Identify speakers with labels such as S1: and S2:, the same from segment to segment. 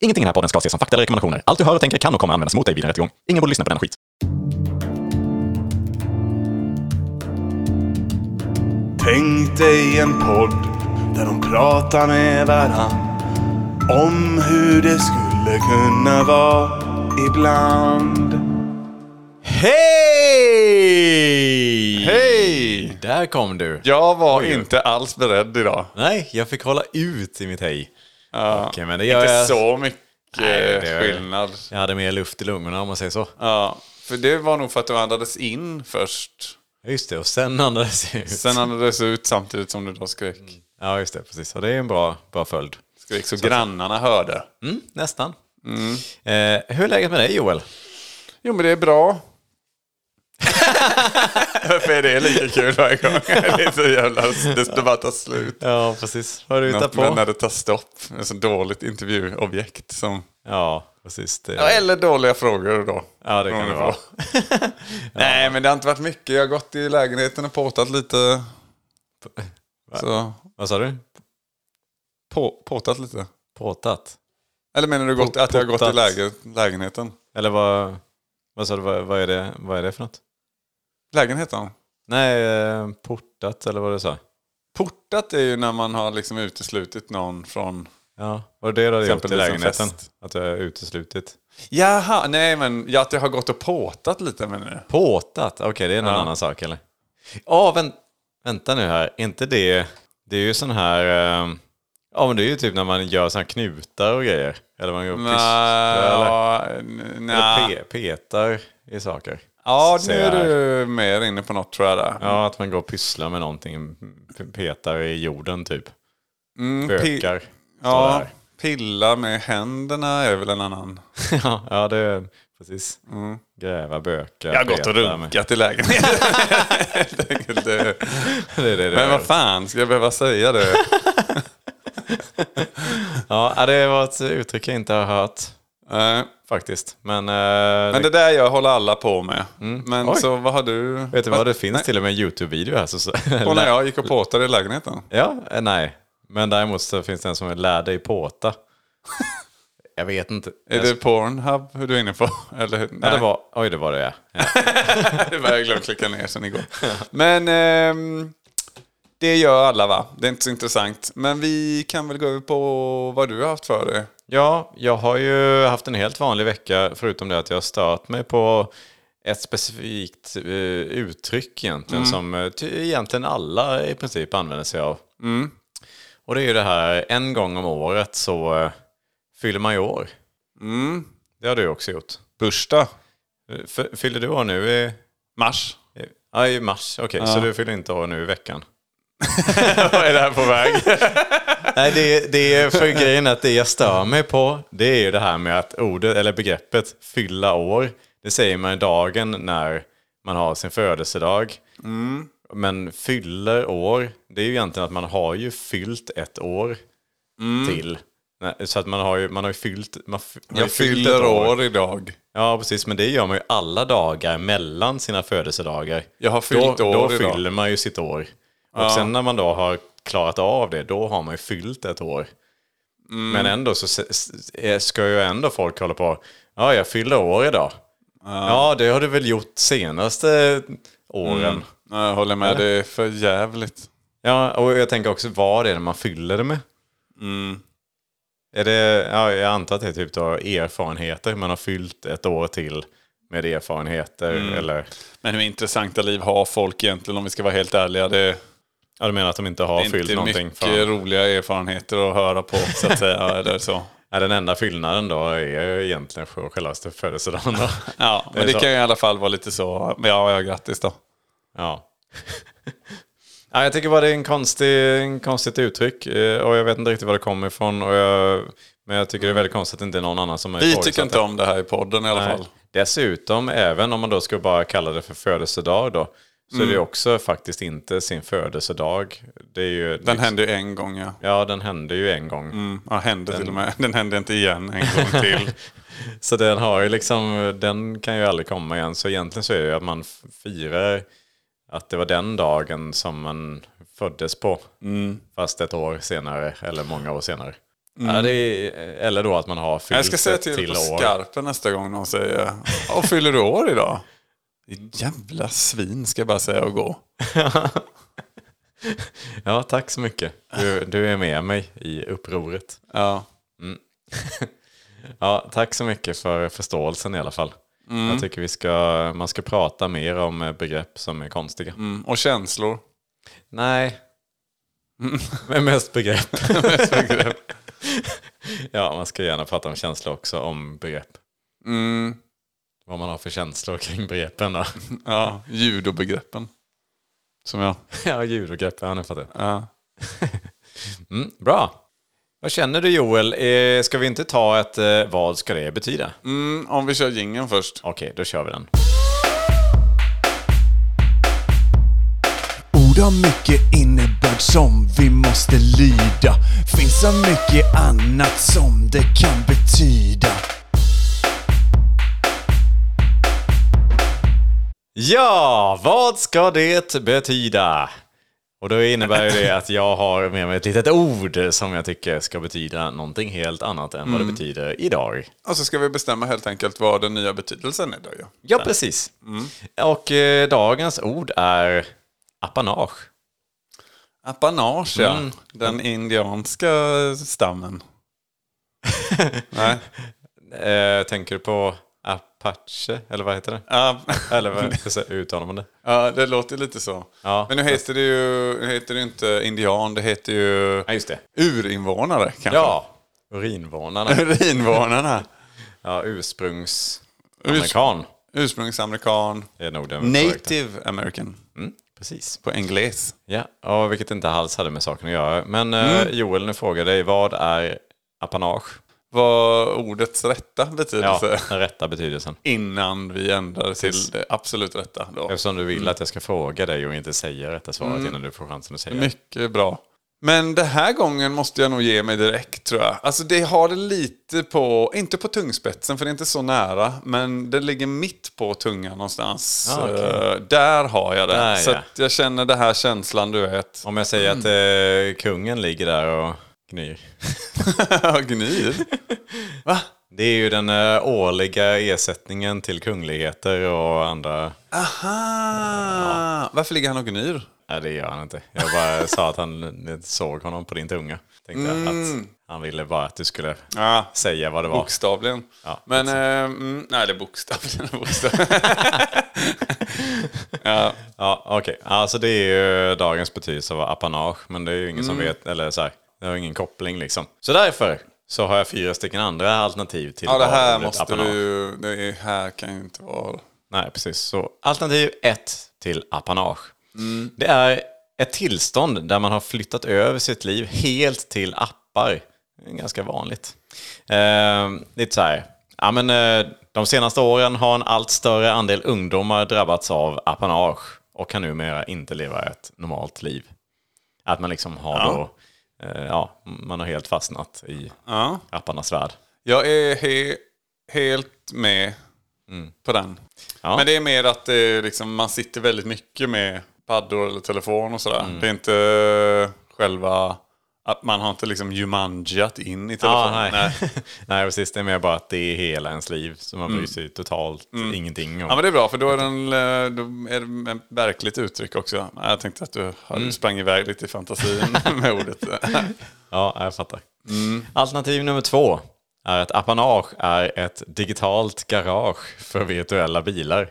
S1: Ingenting i den här podden ska ses som fakta eller rekommendationer. Allt du hör och tänker kan och kommer användas mot dig vid en rättegång. Ingen borde lyssna på den skit.
S2: Tänk dig en podd där de pratar med varann om hur det skulle kunna vara ibland.
S3: Hej!
S4: Hej!
S3: Där kom du.
S4: Jag var inte alls beredd idag.
S3: Nej, jag fick hålla ut i mitt hej.
S4: Ja.
S3: Okej, men det gör
S4: inte
S3: jag.
S4: så mycket eh,
S3: Nej, det gör jag.
S4: skillnad.
S3: Jag hade mer luft i lungorna om man säger så.
S4: Ja. För det var nog för att du andades in först.
S3: Ja, Just det, och sen andades jag ut.
S4: Sen andades du ut samtidigt som du då
S2: Mm.
S4: skrek.
S3: Ja, just det, precis. Och det är en bra, bra följd.
S4: skrek så, grannarna hörde.
S3: Mm, nästan.
S4: Mm.
S3: Eh, hur är läget med dig Joel?
S4: Jo men det är bra. Varför är det lika kul varje gång? Det är så jävla... Det bara tar slut.
S3: Ja, precis. Vad har du hittat
S4: Något med
S3: på?
S4: när det tar stopp. Det är så dåligt intervjuobjekt som...
S3: Ja, precis. Det.
S4: Ja, eller dåliga frågor då. Mm.
S3: Ja, det kan det vara.
S4: Nej, men det har inte varit mycket. Jag har gått i lägenheten och påtat lite. Så,
S3: Vad sa du?
S4: på, påtat lite?
S3: Påtat?
S4: Eller menar du gått, att jag har gått i
S3: Påtat.
S4: läge, lägenheten?
S3: Eller vad, vad sa du? Vad, vad, är det, vad är det för något?
S4: Lägenheten?
S3: Nej, eh, portat eller vad du sa.
S4: Portat är ju när man har liksom uteslutit någon från...
S3: Ja, var det det du hade gjort i
S4: Exempelvis en
S3: lägenheten?
S4: fest.
S3: Att du har uteslutit?
S4: Jaha, nej men ja, att jag har gått och påtat lite men nu.
S3: Påtat? Okej, det är någon
S4: Ja.
S3: annan sak eller? Ja, vänt, vänta nu här. Inte det... Det är ju sån här... ehm, ja, men det är ju typ när man gör såna här knutar och grejer. Eller man gör pysslar
S4: Ja,
S3: eller,
S4: nej.
S3: eller pe, petar i saker.
S4: Ja, nu
S3: Ser jag
S4: är
S3: här.
S4: du mer inne på något tror jag där.
S3: Ja, att man går och pysslar med någonting. p- Petar i jorden typ.
S4: Mm, pi-
S3: Bökar.
S4: Ja, pilla med händerna är väl en annan.
S3: ja, ja, det är precis.
S4: Mm.
S3: Gräva, böka,
S4: Jag har gått
S3: peta
S4: och
S3: med-
S4: runkat i lägenheten. Helt enkelt, det-
S3: Det är det det
S4: Men
S3: är.
S4: vad fan, ska jag behöva säga det?
S3: Ja, det var ett uttryck jag inte har hört
S4: Nej.
S3: faktiskt. Men, eh,
S4: Men det där jag håller alla på med. Men
S3: Mm. Oj.
S4: så vad har du?
S3: Vet du vad, det finns till och med en YouTube-video här? Så, så,
S4: På när jag gick och påtade i lägenheten.
S3: Ja, eh, nej. Men däremot så finns det en som är lär dig påta. jag vet inte.
S4: Är det Pornhub hur du är inne på? Eller, hur?
S3: Ja,
S4: nej,
S3: det var, oj, det var det ja.
S4: det var jag glömde klicka ner sen igår. Men ehm, det gör alla va? Det är inte så intressant. Men vi kan väl gå över på vad du har haft för dig.
S3: Ja, jag har ju haft en helt vanlig vecka förutom det att jag har stört mig på ett specifikt eh, uttryck egentligen som eh, ty- egentligen alla i princip använder sig av. Och det är ju det här, en gång om året så eh, fyller man ju år. Det har du också gjort.
S4: Bursdag.
S3: Eh, f- Fyller du år nu i,
S4: Mars.
S3: i, ja, i mars? Okej, så du fyller inte år nu i veckan?
S4: Vad är det här på väg?
S3: Nej, det, det är för grejen att det jag stör mig på det är ju det här med att ordet eller begreppet fylla år, det säger man i dagen när man har sin födelsedag.
S4: Mm.
S3: Men fyller år, det är ju egentligen att man har ju fyllt ett år till. Nej, Så att man har ju, man har ju fyllt... Man, f- man har ju
S4: Mm. Jag
S3: fyllt ett
S4: fyller år idag.
S3: Ja, precis. Men det gör man ju alla dagar mellan sina födelsedagar.
S4: Jag har fyllt
S3: då,
S4: år
S3: Då
S4: idag.
S3: fyller man ju sitt år. Och sen när man då har klarat av det, då har man ju fyllt ett år.
S4: Mm.
S3: Men ändå så se- s- eh, ska ju ändå folk hålla på. Ja, jag fyller år idag. Ja, det har du väl gjort senaste åren.
S4: Nej, jag håller med, det är för jävligt.
S3: Ja, och jag tänker också vad är det man fyller det med?
S4: Mm.
S3: Är det, ja, jag antar att det är typ då erfarenheter. Man har fyllt ett år till med erfarenheter.
S4: Mm.
S3: Eller,
S4: Men hur intressanta liv har folk egentligen om vi ska vara helt ärliga? Det är
S3: ja, du menar att de inte har fyllt
S4: inte
S3: någonting?
S4: mycket roliga erfarenheter att höra på så att säga. eller så.
S3: ja, den enda skillnaden då är ju egentligen för självaste födelsedagen. Då.
S4: Ja,
S3: är
S4: men det
S3: så.
S4: kan ju i alla fall vara lite så. men Ja, ja grattis då.
S3: Ja. ja, jag tycker bara det är en konstig, en konstigt uttryck eh, och jag vet inte riktigt var det kommer ifrån. Och jag, men jag tycker det är väldigt konstigt att det inte är någon annan som har
S4: Vi
S3: ifrågasatt
S4: tycker inte om det här i podden i alla
S3: Nej.
S4: fall.
S3: Dessutom, även om man då ska bara kalla det för födelsedag då, så
S4: Mm.
S3: är det ju också faktiskt inte sin födelsedag. Det är ju,
S4: Den hände ju en gång ja.
S3: Ja, den hände ju en gång.
S4: Mm, ja hände till och med. Den hände inte igen en gång till.
S3: Så den har ju liksom, den kan ju aldrig komma igen. Så egentligen så är det ju att man f- firar att det var den
S4: Mm.
S3: dagen som man föddes på. Fast ett år senare, eller många år senare. Ja, det är, eller då att man har fyllt
S4: Jag ska säga
S3: ett
S4: till, på
S3: år.
S4: skarpen nästa gång någon säger Åh, fyller du år idag? Ditt Jävla svin ska jag bara säga och gå.
S3: Ja, tack så mycket. Du, du är med mig i upproret.
S4: Ja.
S3: Ja, tack så mycket för förståelsen i alla fall.
S4: Mm.
S3: Jag tycker vi ska, man ska prata mer om eh, begrepp som är konstiga.
S4: Mm. Och känslor.
S3: Nej. Men mest begrepp. ja, man ska gärna prata om känslor också, om begrepp.
S4: Mm.
S3: Vad man har för känslor kring begreppen då.
S4: Ja, judobegreppen. Som jag.
S3: ja, judogrepp, ja nu fattar jag.
S4: Ja.
S3: Mm, bra. Vad känner du Joel? Eh, Ska vi inte ta ett eh, vad ska det betyda?
S4: Mm, om vi kör jingeln först.
S3: Okej, då kör vi den.
S2: Ord har mycket innebörd som vi måste lyda. Finns så mycket annat som det kan betyda.
S3: Ja, vad ska det betyda? Och då innebär ju det att jag har med mig ett litet ord som jag tycker ska betyda någonting helt annat än vad det betyder idag.
S4: Och så ska vi bestämma helt enkelt vad den nya betydelsen är då ju.
S3: Ja, precis. Och eh, dagens ord är apanage.
S4: Apanage, ja.
S3: Mm.
S4: Den indianska stammen. Nej.
S3: Eh, tänker du på apache, eller vad heter det?
S4: Ja,
S3: Eller vad hur uttalar man det?
S4: ja, det låter lite så.
S3: Ja.
S4: Men nu heter det ju nu heter det ju inte indian, det heter ju
S3: Ja, just det.
S4: urinvånare kanske.
S3: Ja, urinvånarna.
S4: Urinvånarna.
S3: Ja, ursprungsamerikan
S4: Ursprungsamerikan.
S3: är nog den korrekta.
S4: Native american.
S3: Mm, precis.
S4: På engles.
S3: Ja, och vilket inte alls hade med saken att göra. Men eh, Joel, nu frågar jag dig, vad är apanage?
S4: Vad ordets rätta
S3: Ja,
S4: betydelse.
S3: den rätta betydelsen.
S4: Innan vi ändrar till det absolut rätta. Då.
S3: Eftersom du vill att jag ska fråga dig och inte säga rätta svaret innan du får chansen att säga det.
S4: Mycket bra. Men den här gången måste jag nog ge mig direkt tror jag. Alltså det har det lite på, inte på tungspetsen för det är inte så nära, men det ligger mitt på tungan någonstans.
S3: Ah, okej.
S4: Eh, där har jag det.
S3: Där,
S4: så
S3: ja.
S4: att jag känner den här känslan du vet.
S3: Om jag säger att
S4: Mm.
S3: eh, kungen ligger där och gnyr.
S4: Gnyr. Va?
S3: Det är ju den eh, årliga ersättningen till kungligheter och andra...
S4: Aha! Varför ligger han och gnyr?
S3: Nej, det gör han inte. Jag bara sa att han såg honom på din tunga. Tänkte jag att han ville bara att du skulle
S4: Mm. Ja,
S3: säga vad det var.
S4: Bokstavligen.
S3: Ja,
S4: men, eh, mm, nej det är bokstavligen. bokstavligen.
S3: Ja, okej. Alltså det är ju dagens betydelse av apanage, men det är ju ingen
S4: Mm.
S3: som vet, eller så här, det har ingen koppling liksom. Så därför så har jag fyra stycken andra alternativ till
S4: ja, det här
S3: ordet
S4: måste du ju, det är- här kan ju inte vara...
S3: Nej, precis. Så alternativ ett till apanage. Det är ett tillstånd där man har flyttat över sitt liv helt till appar. Det är ganska vanligt. Eh, lite så här. Ja, men, eh, de senaste åren har en allt större andel ungdomar drabbats av apanage och kan numera inte leva ett normalt liv. Att man liksom har då, eh, ja, man har helt fastnat i
S4: Ja.
S3: apparnas värld.
S4: Jag är he- helt med på den.
S3: Mm. Ja.
S4: Men det är mer att det är liksom, man sitter väldigt mycket med paddor eller telefon och sådär.
S3: Mm.
S4: Det är inte själva... Att man har inte liksom jumangiat in i telefonen.
S3: Ja, Ah, nej. Nej. precis. Det är mer bara att det är hela ens liv. Så man bryr sig totalt ingenting om.
S4: Mm. Ja men det är bra för då är, den, eh, då är det ett verkligt uttryck också. Jag tänkte att du har-
S3: Mm.
S4: du sprang iväg lite i fantasin med ordet.
S3: Ja, jag fattar.
S4: Mm.
S3: Alternativ nummer två är att apanage är ett digitalt garage för virtuella bilar.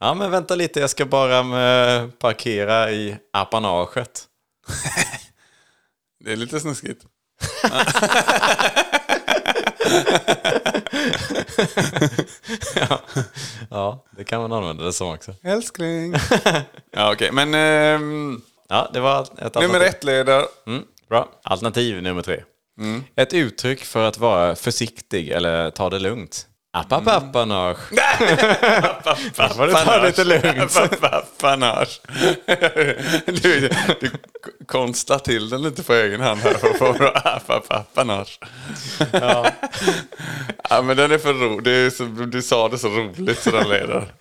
S3: Ja, men vänta lite. Jag ska bara eh, parkera i apanaget.
S4: Det är lite snuskigt.
S3: Ja, det kan man använda det som också.
S4: Älskling. ja okej men ehm,
S3: Ja, det var ett alternativ.
S4: nummer ett leder.
S3: Mm, bra. Alternativ nummer tre.
S4: Mm.
S3: Ett uttryck för att vara försiktig eller ta det lugnt. Appapapanage. Vad var det ta det lite lugnt?
S4: Fanage. du, du konstlar till den lite på egen hand här för att få bra fanage.
S3: Ja.
S4: Ja men den är för rolig. Det är så- Du sa det så roligt så den leder.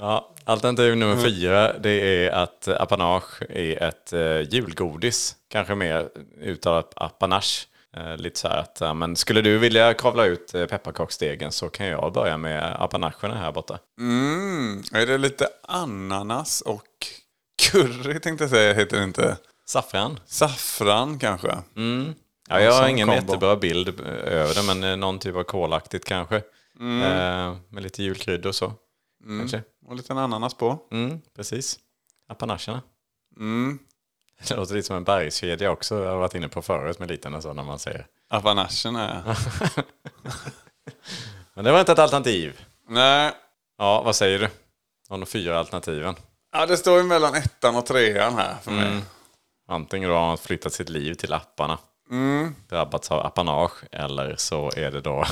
S3: Ja, alternativ nummer fyra det är att eh, apanage är ett eh, julgodis. Kanske mer uttalat apanage. Eh, lite så här att, ja, men skulle du vilja kavla ut eh, pepparkaksdegen så kan jag börja med apanagerna här borta.
S4: Mm, är det lite ananas och curry tänkte jag säga, heter det inte?
S3: Saffran.
S4: Saffran kanske? Mm.
S3: Ja, jag har
S4: sån
S3: ingen
S4: kombo.
S3: jättebra bild eh, över det, men eh, någon typ av kolaktigt kanske. Eh, med lite julkryddor och så. Kanske.
S4: Och lite ananas på. Mm.
S3: Mm, precis. Apanacherna. Det låter lite som en bergskedja också. Jag har varit inne på förut med liten och så när man säger.
S4: Apanachen är...
S3: Men det var inte ett alternativ.
S4: Nej,
S3: Ja, vad säger du? Om de fyra alternativen.
S4: ja, det står ju mellan ettan och trean här för
S3: Mm.
S4: mig.
S3: Antingen då har man flyttat sitt liv till apparna. Mm. Drabbats av apanage. Eller så är det då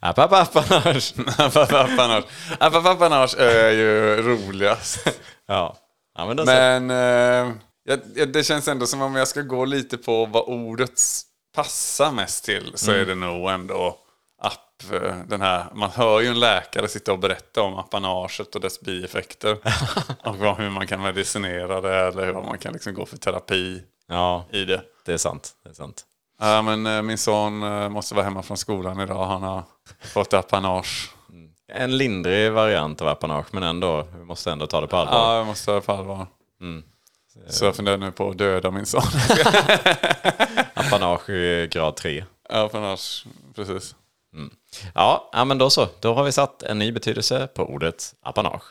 S3: app, app, apanage.
S4: Appanage. Appanage är ju roligast.
S3: ja. ja, men då så.
S4: Men eh, jag, jag, det känns ändå som om jag ska gå lite på vad ordet s- passar mest till så är det nog ändå app, eh, den här, man hör ju en läkare sitta och berätta om appanaget och dess bieffekter. och vad- hur man kan medicinera det eller hur man kan liksom gå för terapi
S3: Ja,
S4: i det.
S3: det är sant. Det är sant.
S4: Ja, men eh, min son eh, måste vara hemma från skolan idag. Han har fått appanage.
S3: En lindrig variant av apanage, men ändå. Vi måste ändå ta det på allvar.
S4: Ja, jag måste ta det på allvar. Så jag funderar nu på att döda min son.
S3: Apanage i grad 3.
S4: appanage, precis.
S3: Ja, ja, men då så. Då har vi satt en ny betydelse på ordet apanage.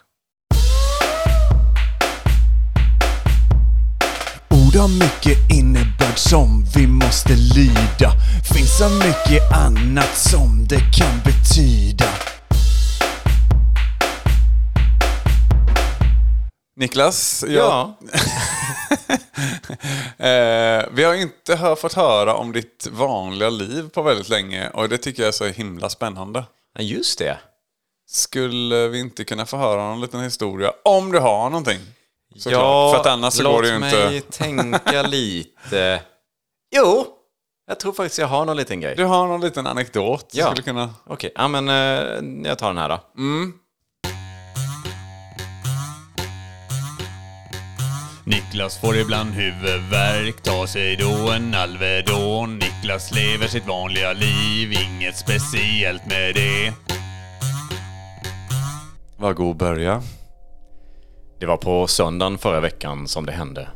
S2: Ord har mycket innebörd som vi måste lyda. Finns så mycket annat som det kan betyda.
S4: Niklas, jag,
S3: Ja,
S4: eh, vi har inte hör, fått höra om ditt vanliga liv på väldigt länge och det tycker jag är så himla spännande.
S3: ja just det.
S4: Skulle vi inte kunna få höra någon liten historia? Om du har någonting. Såklart. För att annars så
S3: låt
S4: går det ju
S3: mig
S4: inte.
S3: tänka lite. Jo, jag tror faktiskt jag har någon liten grej.
S4: Du har någon liten anekdot. du
S3: Ja.
S4: Skulle kunna...
S3: Okej, ja, men eh, jag tar den här då.
S5: Niklas får ibland huvudvärk, ta sig då en Alvedon. Niklas lever sitt vanliga liv, inget speciellt med det.
S4: Var god börja.
S3: Det var på söndagen förra veckan som det hände.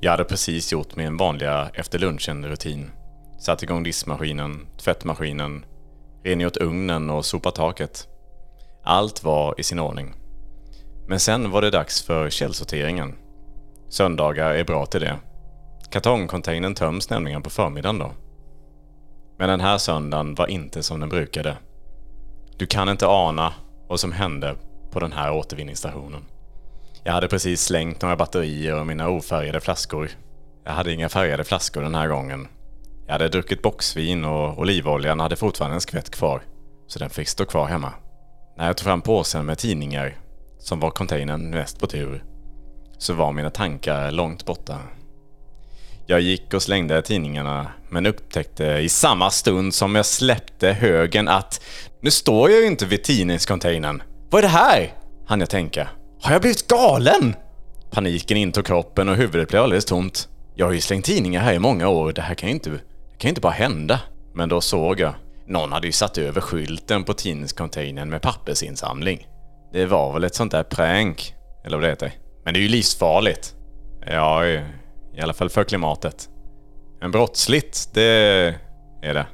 S3: Jag hade precis gjort min vanliga efter lunchen-rutin. Satt igång diskmaskinen, tvättmaskinen, rengjort ugnen och sopat taket. Allt var i sin ordning. Men sen var det dags för källsorteringen. Söndagar är bra till det. Kartongcontainern töms nämligen på förmiddagen då. Men den här söndagen var inte som den brukade. Du kan inte ana vad som hände på den här återvinningsstationen. Jag hade precis slängt några batterier och mina ofärgade flaskor. Jag hade inga färgade flaskor den här gången. Jag hade druckit boxvin och olivoljan hade fortfarande en skvätt kvar. Så den fick stå kvar hemma. När jag tog fram påsen med tidningar, som var containern näst på tur, så var mina tankar långt borta. Jag gick och slängde tidningarna, men upptäckte i samma stund som jag släppte högen att nu står jag ju inte vid tidningscontainern. Vad är det här? Hann jag tänka. Har jag blivit galen? Paniken intog kroppen och huvudet blev alldeles tomt. Jag har ju slängt tidningar här i många år. Det här kan ju inte, det kan ju inte bara hända. Men då såg jag. Någon hade ju satt över skylten på tidningscontainern med pappersinsamling. Det var väl ett sånt där prank, eller vad det heter. Men det är ju livsfarligt. Ja, i i alla fall för klimatet. Men brottsligt, det är det.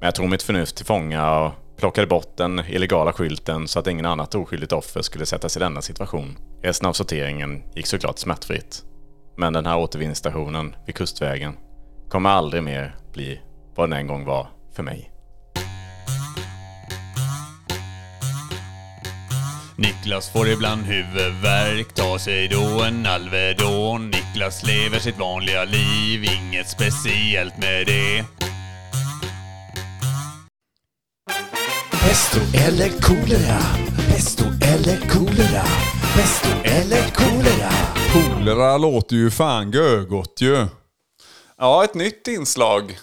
S3: Men jag tog mitt förnuft till fånga och plockade bort den illegala skylten så att ingen annat oskyldigt offer skulle sättas i denna situation. Resten av sorteringen gick såklart smärtfritt. Men den här återvinningsstationen vid Kustvägen kommer aldrig mer bli vad den en gång var för mig.
S5: Niklas får ibland huvudvärk, ta sig då en Alvedon. Niklas lever sitt vanliga liv, inget speciellt med det.
S6: Pesto eller kolera? Pesto eller kolera? Pesto eller kolera?
S4: Kolera låter ju fan gögott ju. Ja, ett nytt inslag.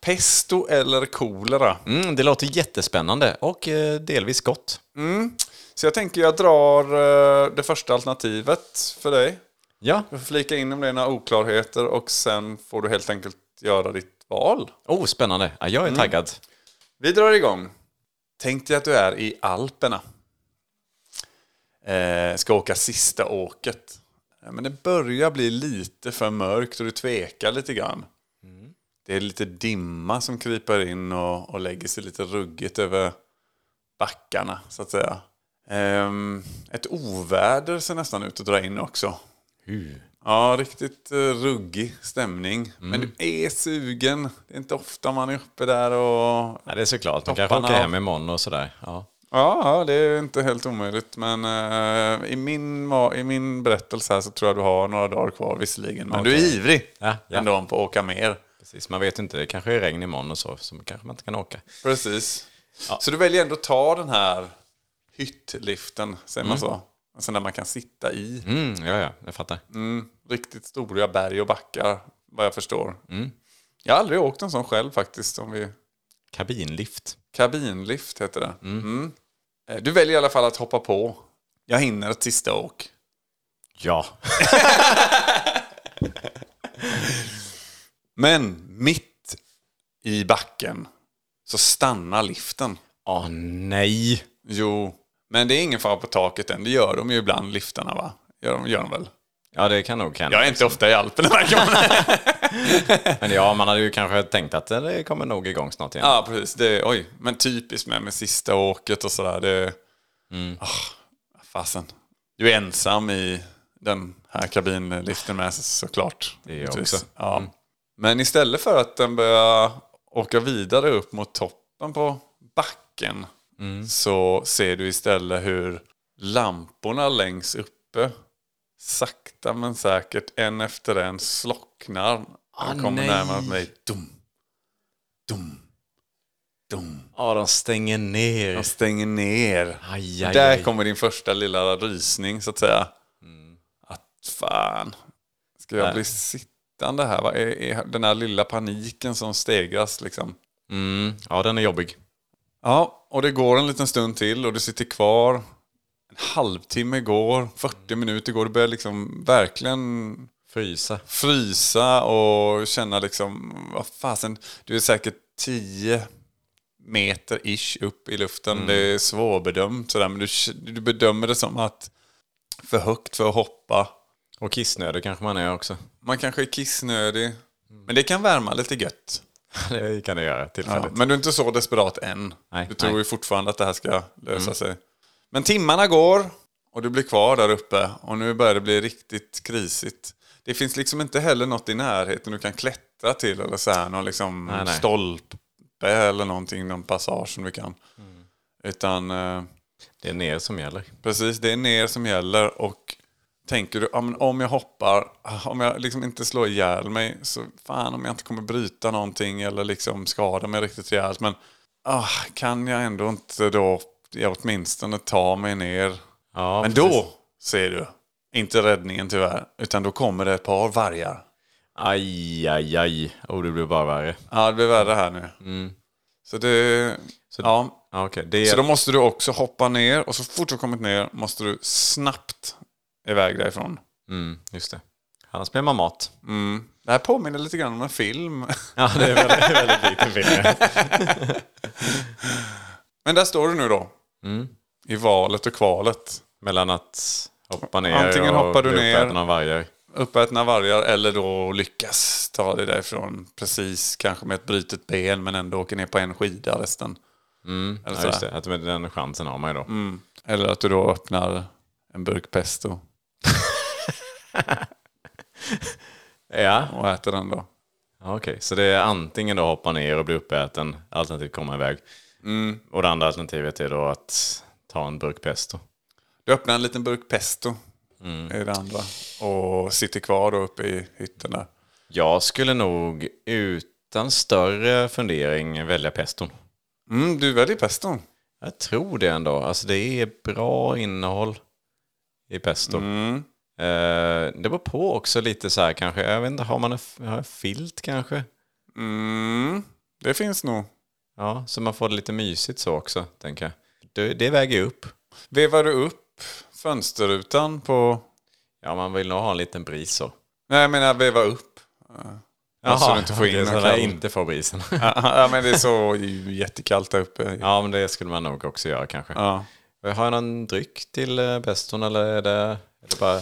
S4: Pesto eller kolera?
S3: Mm, det låter jättespännande och eh, delvis gott.
S4: Så jag tänker jag drar eh, det första alternativet för dig.
S3: Ja.
S4: Du får flika in om det är några oklarheter och sen får du helt enkelt göra ditt val.
S3: Oh, spännande. Ja, jag är taggad.
S4: Vi drar igång. Tänk dig att du är i Alperna. Eh, ska åka sista åket. Eh, Men det börjar bli lite för mörkt och du tvekar lite grann. Det är lite dimma som kryper in och, och lägger sig lite ruggigt över backarna så att säga. Ehm, ett oväder ser nästan ut att dra in också. Ja, riktigt eh, ruggig stämning. Men du är sugen. Det är inte ofta man är uppe där och
S3: Ja, det är såklart. Man
S4: Topparna
S3: kanske åker
S4: av.
S3: hem imorgon och sådär. Ja.
S4: Ja, ja, det är inte helt omöjligt. Men eh, i, min, ma- i min berättelse här så tror jag du har några dagar kvar visserligen. Men du är ivrig
S3: Ja, ja.
S4: ändå på att åka mer.
S3: Precis, man vet inte. Det kanske är regn imorgon och så, så kanske man inte kan åka.
S4: Precis. Så du väljer ändå att ta den här hyttliften, säger man så? Alltså där man kan sitta i.
S3: Mm, ja, ja, jag fattar.
S4: Riktigt stora berg och backar, vad jag förstår. Jag har aldrig åkt en sån själv faktiskt. Om vi...
S3: Kabinlift.
S4: Kabinlift heter det. Mm. Eh, Du väljer i alla fall att hoppa på. Jag hinner ett sista åk.
S3: Ja.
S4: Men mitt i backen så stannar liften.
S3: Åh nej.
S4: Jo, men det är ingen fara på taket än. Det gör de ju ibland, liftarna va? Gör de, gör de väl?
S3: Ja, det kan nog hända.
S4: Jag är inte ofta i Alperna verkar man.
S3: Men ja, man hade ju kanske tänkt att eh, det kommer nog igång snart igen.
S4: Ja, precis. Det är, oj, men typiskt med, med sista åket och sådär. Det,
S3: Mm.
S4: ah, fasen. Du är ensam i den här kabinliften med sig såklart.
S3: är jag
S4: Naturligtvis.
S3: också. Mm.
S4: Ja. Men istället för att den börjar åka vidare upp mot toppen på backen
S3: Mm.
S4: så ser du istället hur lamporna längst uppe sakta men säkert en efter en slocknar. Ah, kommer
S3: nej.
S4: närmare mig. Dum, dum, dum.
S3: Ja, de stänger ner.
S4: De stänger ner.
S3: Aj, aj,
S4: Där
S3: aj. Mm.
S4: kommer din första lilla rysning så att säga. Att fan, ska jag
S3: Nej.
S4: bli sittande här? Va? Är, är den här lilla paniken som stegras liksom.
S3: Mm, ja, den är jobbig.
S4: Ja, och det går en liten stund till och du sitter kvar. En halvtimme går, 40 minuter går. Du börjar liksom verkligen
S3: Frysa.
S4: frysa och känna liksom, vad fasen, du är säkert 10 meter ish upp i luften. Det är svårbedömt sådär, men du, du bedömer det som att för högt för att hoppa.
S3: Och kissnödig kanske man är också.
S4: Man kanske är kissnödig, men det kan värma lite gött.
S3: Det kan det göra
S4: Ja,
S3: tillfälligt.
S4: men du är inte så desperat än.
S3: Nej,
S4: du tror
S3: nej. Mm.
S4: ju fortfarande att det här ska lösa sig. Men timmarna går och du blir kvar där uppe och nu börjar det bli riktigt krisigt. Det finns liksom inte heller något i närheten du kan klättra till eller så här, någon liksom
S3: Nej, nej.
S4: stolpe eller någonting, någon passage som du kan.
S3: Mm.
S4: Utan eh,
S3: Det är ner som gäller.
S4: Precis, det är ner som gäller och tänker du ah, men om jag hoppar, ah, om jag liksom inte slår ihjäl mig så fan om jag inte kommer bryta någonting eller liksom skada mig riktigt rejält. Men ah, kan jag ändå inte då jag åtminstone ta mig ner?
S3: Ja,
S4: men
S3: precis.
S4: då ser du, inte räddningen tyvärr, utan då kommer det ett par vargar.
S3: Aj, aj, aj. Oh, det blir bara värre.
S4: Ja, det blir värre här nu. Så det... ja,
S3: Ja, okej. Mm. Det
S4: Så
S3: är...
S4: då måste du också hoppa ner och så fort du har kommit ner måste du snabbt iväg därifrån.
S3: Mm, just det. Annars blir man mat.
S4: Mm. Det här påminner lite grann om en film.
S3: Ja, det är väldigt, väldigt lite film.
S4: Men där står du nu då.
S3: Mm.
S4: I valet och kvalet.
S3: Mellan att hoppa ner
S4: Antingen
S3: och
S4: hoppar du
S3: bli
S4: ner.
S3: uppäten av vargar.
S4: Uppätna vargar eller då lyckas ta dig därifrån. Precis, kanske med ett brutet ben men ändå åker ner på en skida resten. Eller,
S3: Mm. Ja,
S4: sådär.
S3: just det. Att men den chansen har man ju då.
S4: eller att du då öppnar en burk pesto
S3: Ja,
S4: och äter den då.
S3: Ja, okej. Så det är antingen då hoppa ner och bli uppäten, alternativt komma iväg. Och det andra alternativet är då att ta en burk pesto.
S4: Du öppnar en liten burk pesto.
S3: Mm.
S4: Det är det andra. Och sitter kvar då uppe i hytten där.
S3: Jag skulle nog utan större fundering välja peston.
S4: Mm, du väljer peston.
S3: Jag tror det ändå. Alltså det är bra innehåll i pesto.
S4: Mm,
S3: Eh, det beror på också lite så här kanske. Jag vet inte, har man en, f- har jag en filt kanske?
S4: Mm. Det finns nog.
S3: Ja, så man får det lite mysigt så också, tänker jag. Det, det väger ju upp.
S4: Vevar du upp fönsterrutan på...
S3: Ja, man vill nog ha en liten bris så. Alltså,
S4: Nej, jag menar veva upp.
S3: Jaha,
S4: så du inte får in
S3: okej,
S4: någon
S3: så där
S4: kall.
S3: inte får brisen.
S4: ja, men det är så ju jättekallt där uppe.
S3: ja, men det skulle man nog också göra kanske.
S4: Ja.
S3: Har jag någon dryck till eh, peston eller är det, är det bara...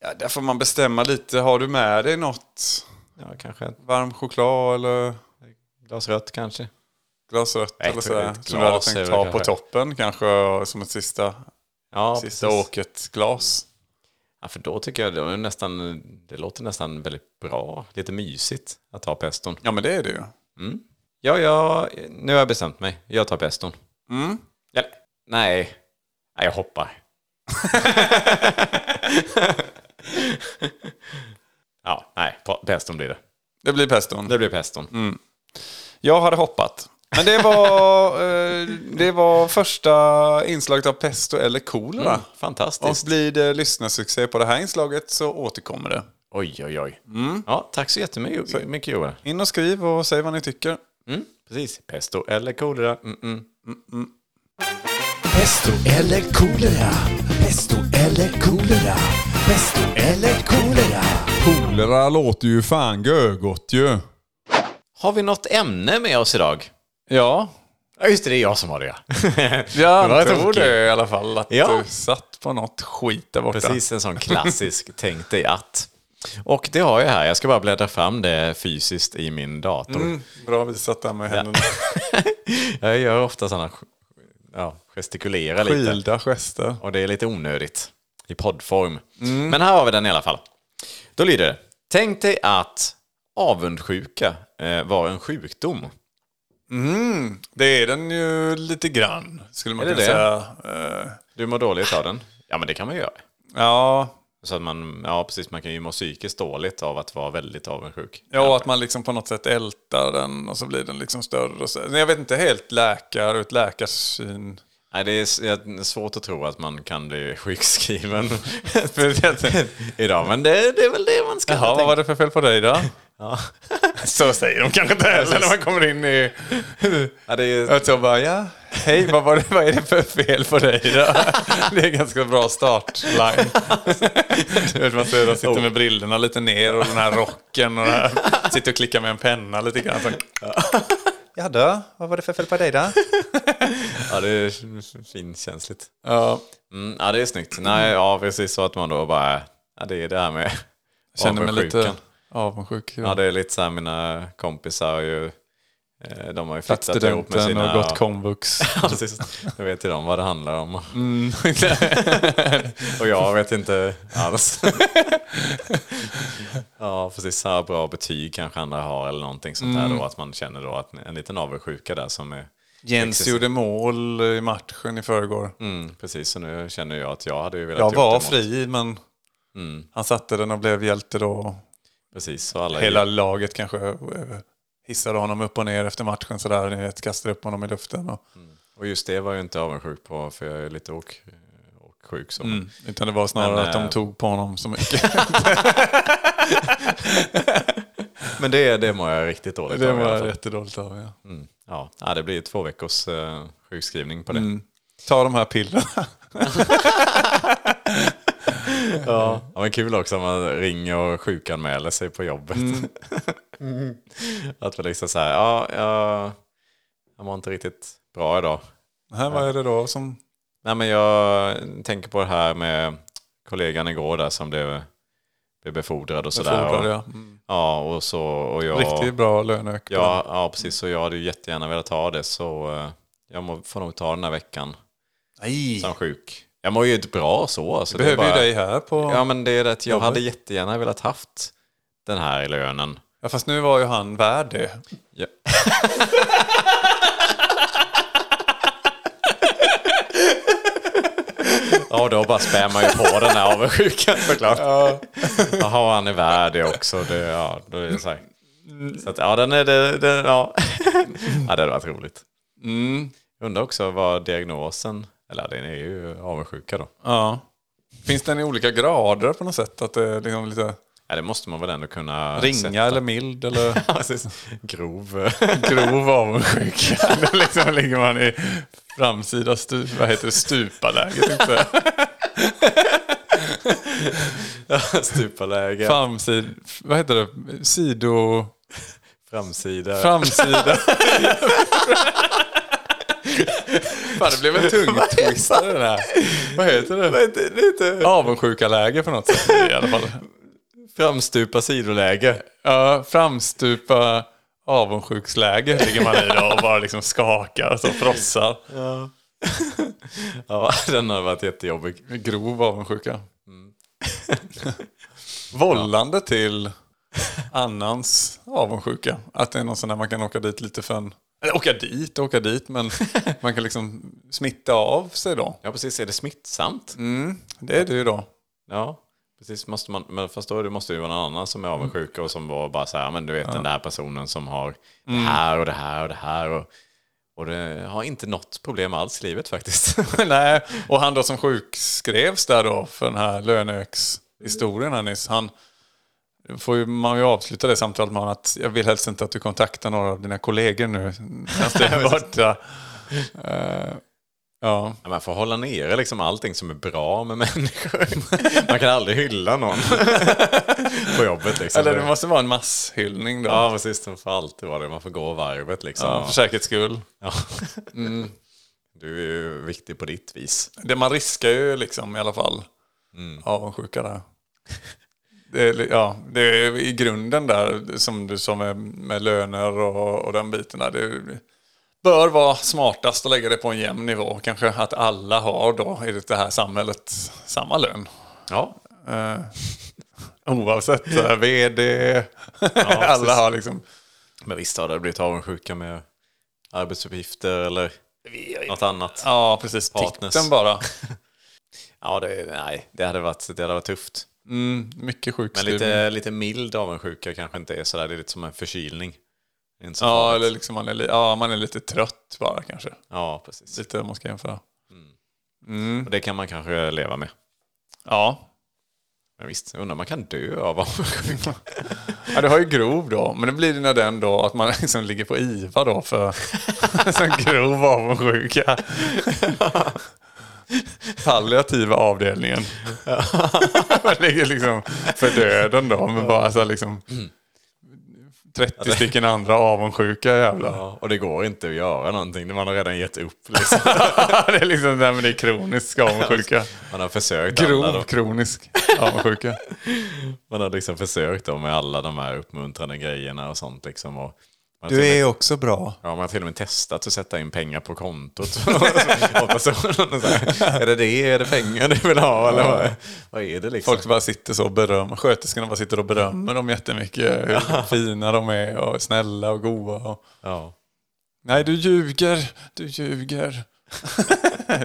S4: Ja, där får man bestämma lite. Har du med dig något?
S3: Ja, kanske ett
S4: Varm choklad eller
S3: glas rött kanske.
S4: glas rött
S3: Nej,
S4: eller sådär?
S3: ett
S4: Som du hade
S3: glas är väl
S4: tänkt ta på
S3: kanske-
S4: toppen kanske som ett sista,
S3: Ja,
S4: sista
S3: precis. Mm.
S4: åket-glas.
S3: Ja, för då tycker jag det, är nästan, det låter nästan väldigt bra. Lite mysigt att ta peston.
S4: Ja, men det är det ju.
S3: Ja, ja, nu har jag bestämt mig. Jag tar peston.
S4: Mm.
S3: Eller, nej. Nej, jag hoppar. ja, nej, pa- peston blir det.
S4: Det blir peston.
S3: Det blir peston.
S4: Jag hade hoppat. Men det var, eh, det var första inslaget av Pesto eller Kolera.
S3: Mm,
S4: Och
S3: fantastiskt.
S4: blir det lyssnarsuccé på det här inslaget så återkommer det.
S3: Oj, oj, oj. Ja, tack så jättemycket, Mm. så. mycket, Johan.
S4: In och skriv och säg vad ni tycker.
S3: Mm, precis. Pesto eller kolera. Mm -mm.
S6: Pesto eller kolera? Pesto eller kolera? Pesto eller kolera?
S4: Kolera låter ju fan gögott ju.
S3: Har vi något ämne med oss idag?
S4: Ja,
S3: Ja, just det. Det är jag som har det, ja.
S4: jag
S3: var
S4: tror
S3: tokigt.
S4: det i alla fall. Att
S3: Ja.
S4: du satt på något skit där borta.
S3: Precis en sån klassisk tänk dig att. Och det har jag här. Jag ska bara bläddra fram det fysiskt i min dator.
S4: Mm, bra visat där med händerna.
S3: Jag gör ofta sådana, ja, gestikulera lite.
S4: Skilda gester.
S3: Och det är lite onödigt i poddform. Men här har vi den i alla fall. Då lyder det. Tänk dig att avundsjuka eh, var en sjukdom.
S4: Mm, det är den ju lite grann, skulle man
S3: Är det
S4: kunna
S3: det?
S4: säga. Eh,
S3: Du mår dåligt av den? Ja, men det kan man ju göra.
S4: Ja,
S3: Så att man, ja, precis, man kan ju må psykiskt dåligt av att vara väldigt avundsjuk.
S4: Ja, och att man liksom på något sätt ältar den och så blir den liksom större. Och så. Nej, Jag vet inte helt läkar ur ett läkarsyn.
S3: Nej, det är s- jag- svårt att tro att man kan bli sjukskriven idag, men det, det är väl det man ska
S4: Ja, vad var det för fel på dig då?
S3: Ja.
S4: Så säger de kanske inte heller när man kommer in i...
S3: Ja, det är,
S4: Och så bara, ja, hej, vad, var det, vad är det för fel på dig då? Det är en ganska bra startline. Du vet, man ser, de
S3: Oh.
S4: sitter med brillorna lite ner och den här rocken och den här, sitter och klickar med en penna lite grann. Så. Ja, då, vad var det för fel på dig då?
S3: ja, det är finkänsligt.
S4: Ja,
S3: Mm, ja, det är snyggt. Nej, ja, precis så att man då bara, ja, det är det här med
S4: känner mig lite
S3: avundsjukan.
S4: avundsjuk.
S3: Ja, det är lite så här, mina kompisar har ju, eh, de har ju
S4: Tatt
S3: flyttat ihop med
S4: studenten
S3: sina...
S4: och gått komvux.
S3: Ja, precis. Nu vet ju de vad det handlar om.
S4: Mm.
S3: och jag vet inte alls. ja, precis. Så här bra betyg kanske andra har eller någonting sånt
S4: Mm.
S3: där då. Att man känner då att en liten avundsjuka där som är...
S4: Jens gjorde mål i matchen i förrgår.
S3: Mm, precis, så nu känner jag att jag hade ju velat
S4: Jag
S3: gjort det
S4: var
S3: mot-
S4: fri, men
S3: Mm,
S4: han satte den och blev hjälte då.
S3: precis, så alla...
S4: Hela laget kanske eh, hissade honom upp och ner efter matchen sådär. Ni vet, kastade upp honom i luften. Och,
S3: Och just det var jag ju inte avundsjuk på för jag är lite åk, åksjuk. Så.
S4: Utan det var snarare
S3: Mm. Men,
S4: att
S3: eh,
S4: de tog på honom så mycket.
S3: Men det, det mår jag riktigt dåligt
S4: det
S3: av i alla
S4: var
S3: fall.
S4: jättedåligt av ja.
S3: Mm. Ja. ja, det blir ju två veckors eh, sjukskrivning på det.
S4: Mm. Ta de här pillerna.
S3: Ja. ja, men kul också om man ringer och sjukanmäler sig på jobbet. Mm. att man liksom säger, ja, jag, jag mår inte riktigt bra idag.
S4: Här, vad är det då som...
S3: Nej, men jag tänker på det här med kollegan igår där som blev, blev befordrad och sådär.
S4: Fordrade,
S3: Och,
S4: ja. Mm.
S3: ja, och så och jag...
S4: Riktigt bra löneökning.
S3: Ja, ja, precis. Så jag hade ju jättegärna velat ha det så eh, jag må, får nog ta den här veckan
S4: Nej,
S3: som sjuk. Jag mår ju inte bra så. Alltså,
S4: vi
S3: Det är
S4: behöver ju
S3: bara-
S4: dig här på...
S3: Ja, men det är det att jag
S4: Jobbet.
S3: hade jättegärna velat haft den här lönen.
S4: Ja, fast nu var ju han värd det.
S3: Ja. Ja, då bara spär man ju på den här avundsjukan såklart. Jaha, han är värd det också. Det, ja, då är det så här. Så att, ja, den är det, det ja. ja, det hade varit roligt.
S4: Mm.
S3: Jag undrar också vad diagnosen, eller den är ju avundsjuka då.
S4: Ja. Finns den i olika grader på något sätt? Att det är liksom lite...
S3: Ja, det måste man väl ändå kunna...
S4: Ringa eller mild eller
S3: Ja, precis. Grov.
S4: grov avundsjuka. Då liksom ligger man i framsida stup, vad heter det, stupaläget. Inte.
S3: Stupaläge.
S4: Framsid, vad heter det? Sido...
S3: Framsida.
S4: Framsida. Fan, det blev en tung twist av den här. Vad heter det?
S3: Det är inte...
S4: Avundsjukaläge på något sätt i alla fall.
S3: Framstupa sidoläge.
S4: Ja, framstupa avundsjuksläge ligger man i då och bara liksom skakar och så frossar.
S3: Ja, den har varit jättejobbig. Mm.
S4: Grov avundsjuka. Vållande till annans avundsjuka. Att det är någon sån där man kan åka dit lite för en... Eller åka dit, åka dit, men man kan liksom smitta av sig då.
S3: Ja, precis. Är det smittsamt?
S4: Mm. Det är det ju då.
S3: Ja, precis. Måste man, men fast då är det måste ju vara någon annan som är avundsjuk och som var bara så här, men du vet den där personen som har
S4: Mm.
S3: det här och det här och det här. Och, och det har inte något problem alls i livet faktiskt.
S4: Nej, och han då som sjukskrevs där då för den här löneökshistorien här nyss. Han får ju, man ju avsluta det samtalet med honom att jag vill helst inte att du kontaktar några av dina kollegor nu. Medan du är borta. Eh, ja.
S3: Ja, Man får hålla nere liksom allting som är bra med människor. Man kan aldrig hylla någon på jobbet liksom.
S4: Eller det måste vara en masshyllning då.
S3: Ja, precis. Man får alltid vara det. Man får gå varvet liksom.
S4: Ja, För säkerhets skull.
S3: Ja. Mm. Du är ju viktig på ditt vis.
S4: Det man riskar ju liksom i alla fall
S3: Mm.
S4: avundsjuka där. Det är, li- ja, det är i grunden där som du sa med, med löner och, och den biten där. Det bör vara smartast att lägga det på en jämn nivå. Kanske att alla har då i det här samhället samma lön.
S3: Ja,
S4: Eh, oavsett så här, vd. alla har liksom.
S3: men visst har det blivit avundsjuka med arbetsuppgifter eller något annat.
S4: Ja, precis.
S3: Partners.
S4: Titeln bara.
S3: Ja, det, nej, det, hade varit, det hade varit tufft.
S4: Mm, mycket
S3: Men
S4: sjukskrivning.
S3: lite, lite mild avundsjuka kanske inte är sådär. Det är lite som en förkylning. Det är inte så
S4: Ja,
S3: farligt.
S4: eller liksom man är, li- ja, man är lite trött bara kanske.
S3: ja, precis.
S4: Lite om man ska jämföra.
S3: Och det kan man kanske leva med.
S4: Ja.
S3: Men visst, jag undrar om man kan dö av avundsjuka.
S4: ja, det har ju grov då. Men det blir det när den då, att man liksom ligger på IVA då för sån grov avundsjuka. Palliativa avdelningen. man ligger liksom för döden då, men bara så här liksom 30 stycken andra avundsjuka jävlar.
S3: ja, och det går inte att göra någonting. Man har redan gett upp. Liksom.
S4: det är liksom, nej men det är kronisk avundsjuka.
S3: Man har försökt. alla
S4: Grov
S3: de,
S4: kronisk avundsjuka.
S3: man har liksom försökt då med alla de här uppmuntrande grejerna och sånt. Liksom, och man har till och
S4: Du
S3: med-
S4: är också bra.
S3: Ja, man har till och med testat att sätta in pengar på kontot. Och personen så här, är det det? Är det pengar du vill ha? Eller vad, vad är det liksom?
S4: Folk bara sitter så och berömmer, sköterskorna bara sitter och berömmer dem jättemycket. Hur fina de är och snälla och goa. Och...
S3: Ja.
S4: Nej, du ljuger, du ljuger.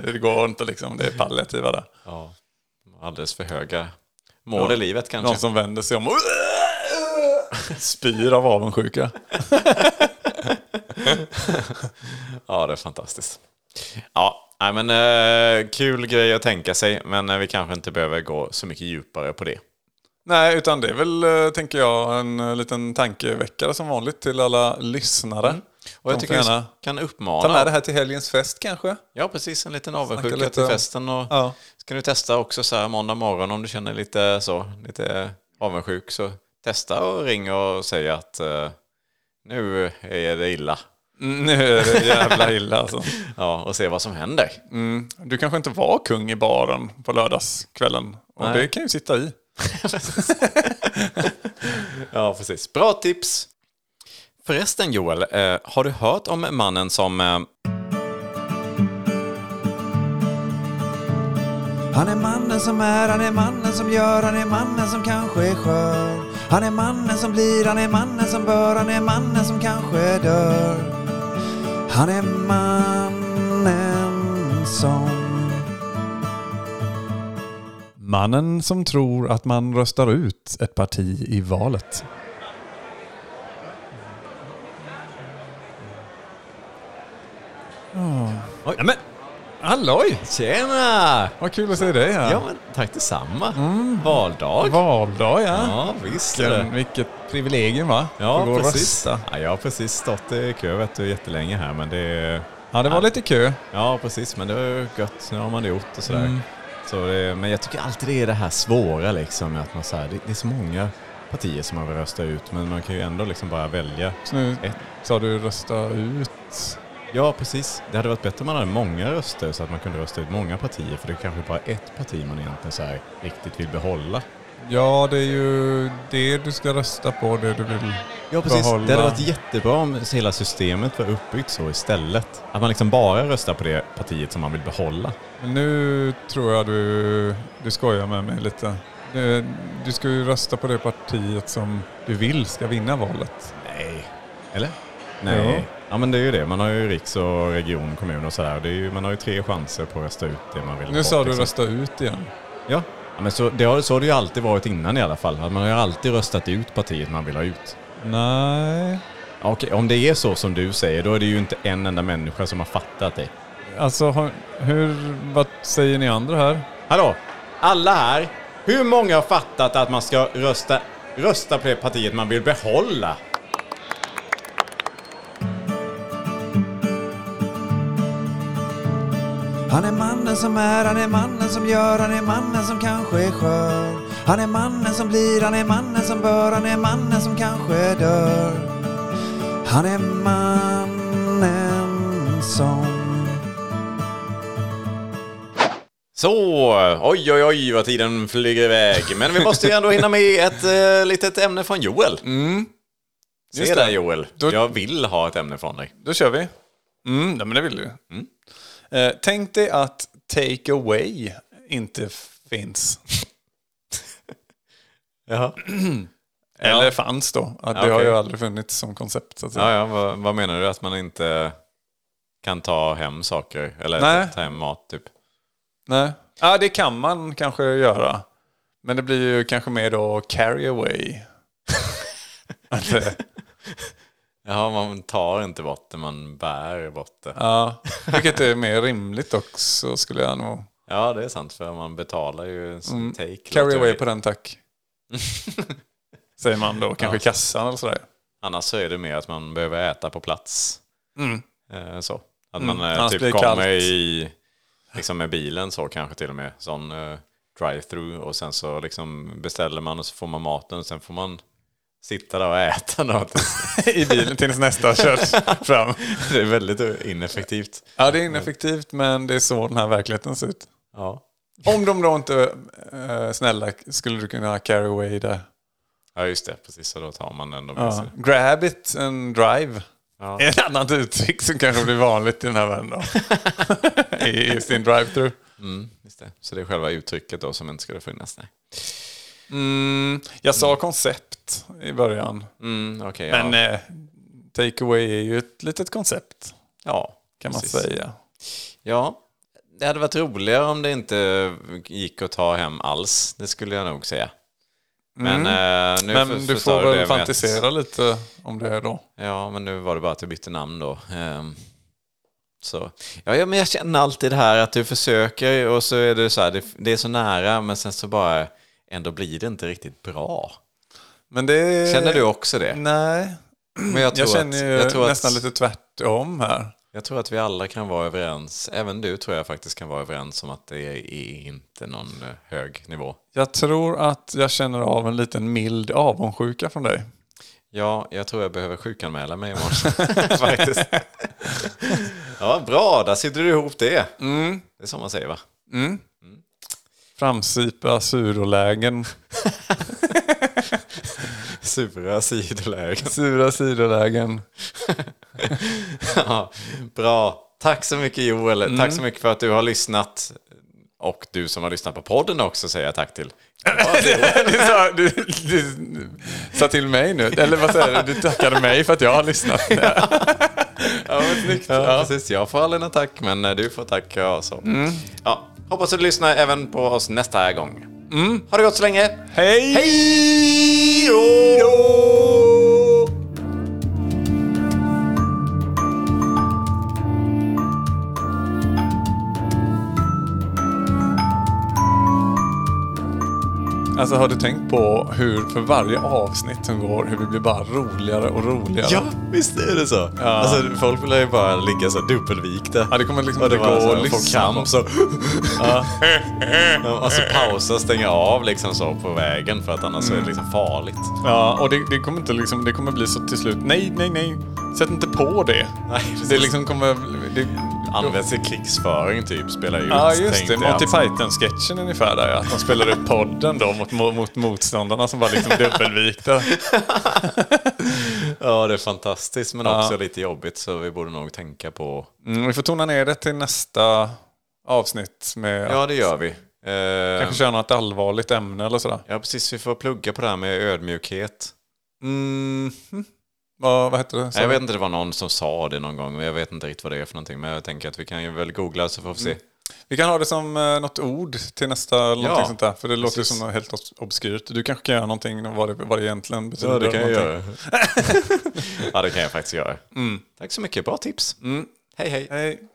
S4: det går inte liksom, det är palliativa där.
S3: ja. Alldeles för höga mål i livet kanske.
S4: Någon som vänder sig om och spyr av avundsjuka.
S3: Ja, det är fantastiskt. Ja, nej, men eh, kul grej att tänka sig, men eh, vi kanske inte behöver gå så mycket djupare på det.
S4: Nej, utan det är väl, eh, tänker jag, en eh, liten tankeväckare som vanligt till alla lyssnare.
S3: Och jag
S4: De
S3: tycker
S4: får
S3: vi
S4: gärna
S3: kan
S4: ta med det
S3: uppmana.
S4: här till helgens fest kanske.
S3: Ja, precis. En liten avundsjuka
S4: lite
S3: till
S4: om-
S3: festen. Och
S4: Ja.
S3: Så kan du testa också så här måndag morgon om du känner lite så, lite avundsjuk. Så testa och ring och säg att eh, nu är det illa.
S4: Nu är det jävla illa alltså.
S3: Ja, och se vad som händer.
S4: Du kanske inte var kung i baren på lördagskvällen. Och
S3: Nej.
S4: det kan ju sitta i.
S3: Ja, precis. Bra tips! Förresten Joel, eh, har du hört om mannen som... Eh,
S6: Han är mannen som är, han är mannen som gör, han är mannen som kanske är skör. Han är mannen som blir, han är mannen som bör, han är mannen som kanske dör. Han är mannen som...
S4: Mannen som tror att man röstar ut ett parti i valet.
S3: oj, men,
S4: Halloj!
S3: Tjena!
S4: Vad kul att se dig här.
S3: Ja, men tack detsamma. Valdag.
S4: Valdag, ja.
S3: Ja, visst.
S4: Mm. Vilken, vilket privilegium, va?
S3: Ja,
S4: Att gå och
S3: precis.
S4: rösta.
S3: Ja, jag har precis stått i kö vet du, jättelänge här, men det är...
S4: Ja, det var lite kö.
S3: Ja, precis. Men det var ju gött. Nu har man det gjort och sådär.
S4: Mm.
S3: Så det, men jag tycker alltid det är det här svåra liksom. Att man så här, det, det är så många partier som man vill rösta ut, men man kan ju ändå liksom bara välja.
S4: Så nu sa du rösta ut.
S3: Ja, precis. Det hade varit bättre om man hade många röster så att man kunde rösta ut många partier. För det är kanske bara ett parti man egentligen så här riktigt vill behålla.
S4: Ja, det är ju det du ska rösta på, det du vill
S3: Ja, precis.
S4: behålla.
S3: Det hade varit jättebra om hela systemet var uppbyggt så istället. Att man liksom bara röstar på det partiet som man vill behålla.
S4: Men nu tror jag du, du skojar med mig lite. Du, du ska ju rösta på det partiet som du vill ska vinna valet.
S3: Nej. Eller? Nej.
S4: Jo.
S3: Ja men det är ju det. Man har ju riks och region, kommun och sådär. Det är ju, man har ju tre chanser på att rösta ut det man vill ha
S4: Nu sa
S3: bort,
S4: du
S3: liksom.
S4: rösta ut igen.
S3: Ja. ja men så, det har, så har det ju alltid varit innan i alla fall. Att man har ju alltid röstat ut partiet man vill ha ut.
S4: Nej.
S3: Ja, Okej, om det är så som du säger, då är det ju inte en enda människa som har fattat det.
S4: Alltså, har- hur, vad säger ni andra här?
S3: Hallå! Alla här! Hur många har fattat att man ska rösta, rösta på det partiet man vill behålla?
S6: Han är mannen som är, han är mannen som gör, han är mannen som kanske är skör. Han är mannen som blir, han är mannen som bör, han är mannen som kanske dör. Han är mannen som...
S3: Så, oj oj oj vad tiden flyger iväg. Men vi måste ju ändå hinna med ett eh, litet ämne från Joel. Se
S4: Just
S3: där
S4: det.
S3: Joel,
S4: Då-
S3: jag vill ha ett ämne från dig.
S4: Då kör vi. Mm, nej, men det vill du. Eh, tänk dig att take away inte finns.
S3: Jaha.
S4: Eller fanns då. Att det
S3: Ja,
S4: har
S3: okej.
S4: ju aldrig funnits som koncept. Så att säga.
S3: Ja, ja, vad, vad menar du? Att man inte kan ta hem saker? Eller
S4: Nej.
S3: ta hem mat typ?
S4: Nej. Ja, det kan man kanske göra. Men det blir ju kanske mer då carry away. Att, eh,
S3: Jaha, man tar inte bort det, man bär bort det.
S4: ja, vilket är mer rimligt också skulle jag nog...
S3: Ja, det är sant, för man betalar ju en sån take.
S4: Mm. Carry
S3: låter
S4: away
S3: ju-
S4: på den tack. Säger man då, kanske i kassan eller sådär.
S3: Annars så är det mer att man behöver äta på plats. Eh, så. Att man eh,
S4: Mm. annars blir
S3: typ
S4: det kallt.
S3: kommer i, liksom med bilen så kanske till och med, sån eh, drive-through och sen så liksom beställer man och så får man maten och sen får man sitta där och äta något.
S4: I bilen tills nästa körs fram.
S3: det är väldigt ineffektivt.
S4: Ja, det är ineffektivt men det är så den här verkligheten ser ut.
S3: Ja,
S4: Om de då inte, eh, snälla, skulle du kunna carry away det?
S3: ja just det, precis. Så då tar man den då med
S4: Ja.
S3: sig.
S4: Grab it and drive.
S3: Ja.
S4: Ett annat uttryck som kanske blir vanligt i den här världen då. I, I sin drive-thru.
S3: Mm, Just det. Så det är själva uttrycket då som inte skulle finnas. Nej.
S4: Mm, jag sa koncept i början.
S3: Mm, okay, ja.
S4: Men eh, take away är ju ett litet koncept
S3: ja,
S4: kan man
S3: precis.
S4: säga.
S3: Ja, det hade varit roligare om det inte gick att ta hem alls. Det skulle jag nog säga. Men, eh, nu
S4: Mm. Men
S3: för-
S4: du
S3: förstår
S4: får
S3: det med
S4: väl
S3: att-
S4: fantisera lite om det då.
S3: Ja, men nu var det bara att du bytte namn då. Ehm, Så. Ja, ja, men jag känner alltid det här att du försöker och så är det så här, det, det är så nära men sen så bara ändå blir det inte riktigt bra.
S4: Men det...
S3: Känner du också det?
S4: Nej,
S3: Men jag tror,
S4: Eh, mm, jag känner ju
S3: att, jag tror
S4: nästan
S3: att,
S4: lite tvärtom här.
S3: Jag tror att vi alla kan vara överens, även du tror jag faktiskt kan vara överens om att det är inte någon eh, hög nivå.
S4: Jag tror att jag känner av en liten mild avundsjuka från dig.
S3: Ja, jag tror jag behöver sjukanmäla mig imorgon. Faktiskt. Ja, bra, där sitter du ihop det. Det är som man säger va?
S4: Framsipa surolägen.
S3: Sura sidolägen.
S4: Sura sidolägen.
S3: Ja, bra. Tack så mycket Joel. Tack så mycket för att du har lyssnat. Och du som har lyssnat på podden också säger jag tack till.
S4: du, sa, du, du sa till mig nu. Eller vad säger du? Du tackade mig för att jag har lyssnat.
S3: Ja, vad snyggt. Ja, Mm. precis. Jag får aldrig något tack, men eh, du får tack. Ja, så. Ja, hoppas att du lyssnar även på oss nästa gång. Ha det gott så länge.
S4: Hej! Alltså,
S3: Hej då!
S4: Alltså har du tänkt på hur för varje avsnitt som går, hur vi blir bara roligare och roligare?
S3: Ja, visst är det så. Alltså, folk vill ju bara ligga så här dubbelvikta.
S4: Ja, det kommer liksom
S3: Och det
S4: inte gå
S3: var så
S4: att
S3: här, få
S4: lyssna på.
S3: kamp så... ja. Alltså pausa, stänga av liksom så på vägen för att annars är det liksom farligt.
S4: Ja, och det, det kommer inte liksom, det kommer bli så till slut, nej, nej, nej. Sätt inte på det.
S3: Nej, precis.
S4: det liksom kommer... Det,
S3: Används i krigsföring typ, spelar ut.
S4: Ja, just
S3: tänkte
S4: det.
S3: jag.
S4: Monty Python-sketchen ungefär där, ja. Att de spelar upp podden då mot, mot, mot motståndarna som var liksom dubbelvikta.
S3: Ja, det är fantastiskt men också lite jobbigt så vi borde nog tänka på...
S4: Mm, vi får tona ner det till nästa avsnitt med
S3: Ja,
S4: att
S3: det gör vi. Eh,
S4: kanske köra något allvarligt ämne eller sådär.
S3: Ja, precis. Vi får plugga på det här med ödmjukhet.
S4: Mm. Vad, vad hette det?
S3: Nej, jag vet inte, det var någon som sa det någon gång, men jag vet inte riktigt vad det är för någonting. Men jag tänker att vi kan ju väl googla så får vi
S4: Mm.
S3: se.
S4: Vi kan ha det som eh, något ord till nästa eller
S3: Ja,
S4: någonting sånt där. För det låter ju
S3: precis.
S4: som något helt obs- obskyrt. Du kanske kan göra någonting om vad det, vad det egentligen betyder. någonting. Mm.
S3: ja, det kan jag faktiskt göra. Tack så mycket, bra tips. Hej, hej.
S4: Hej.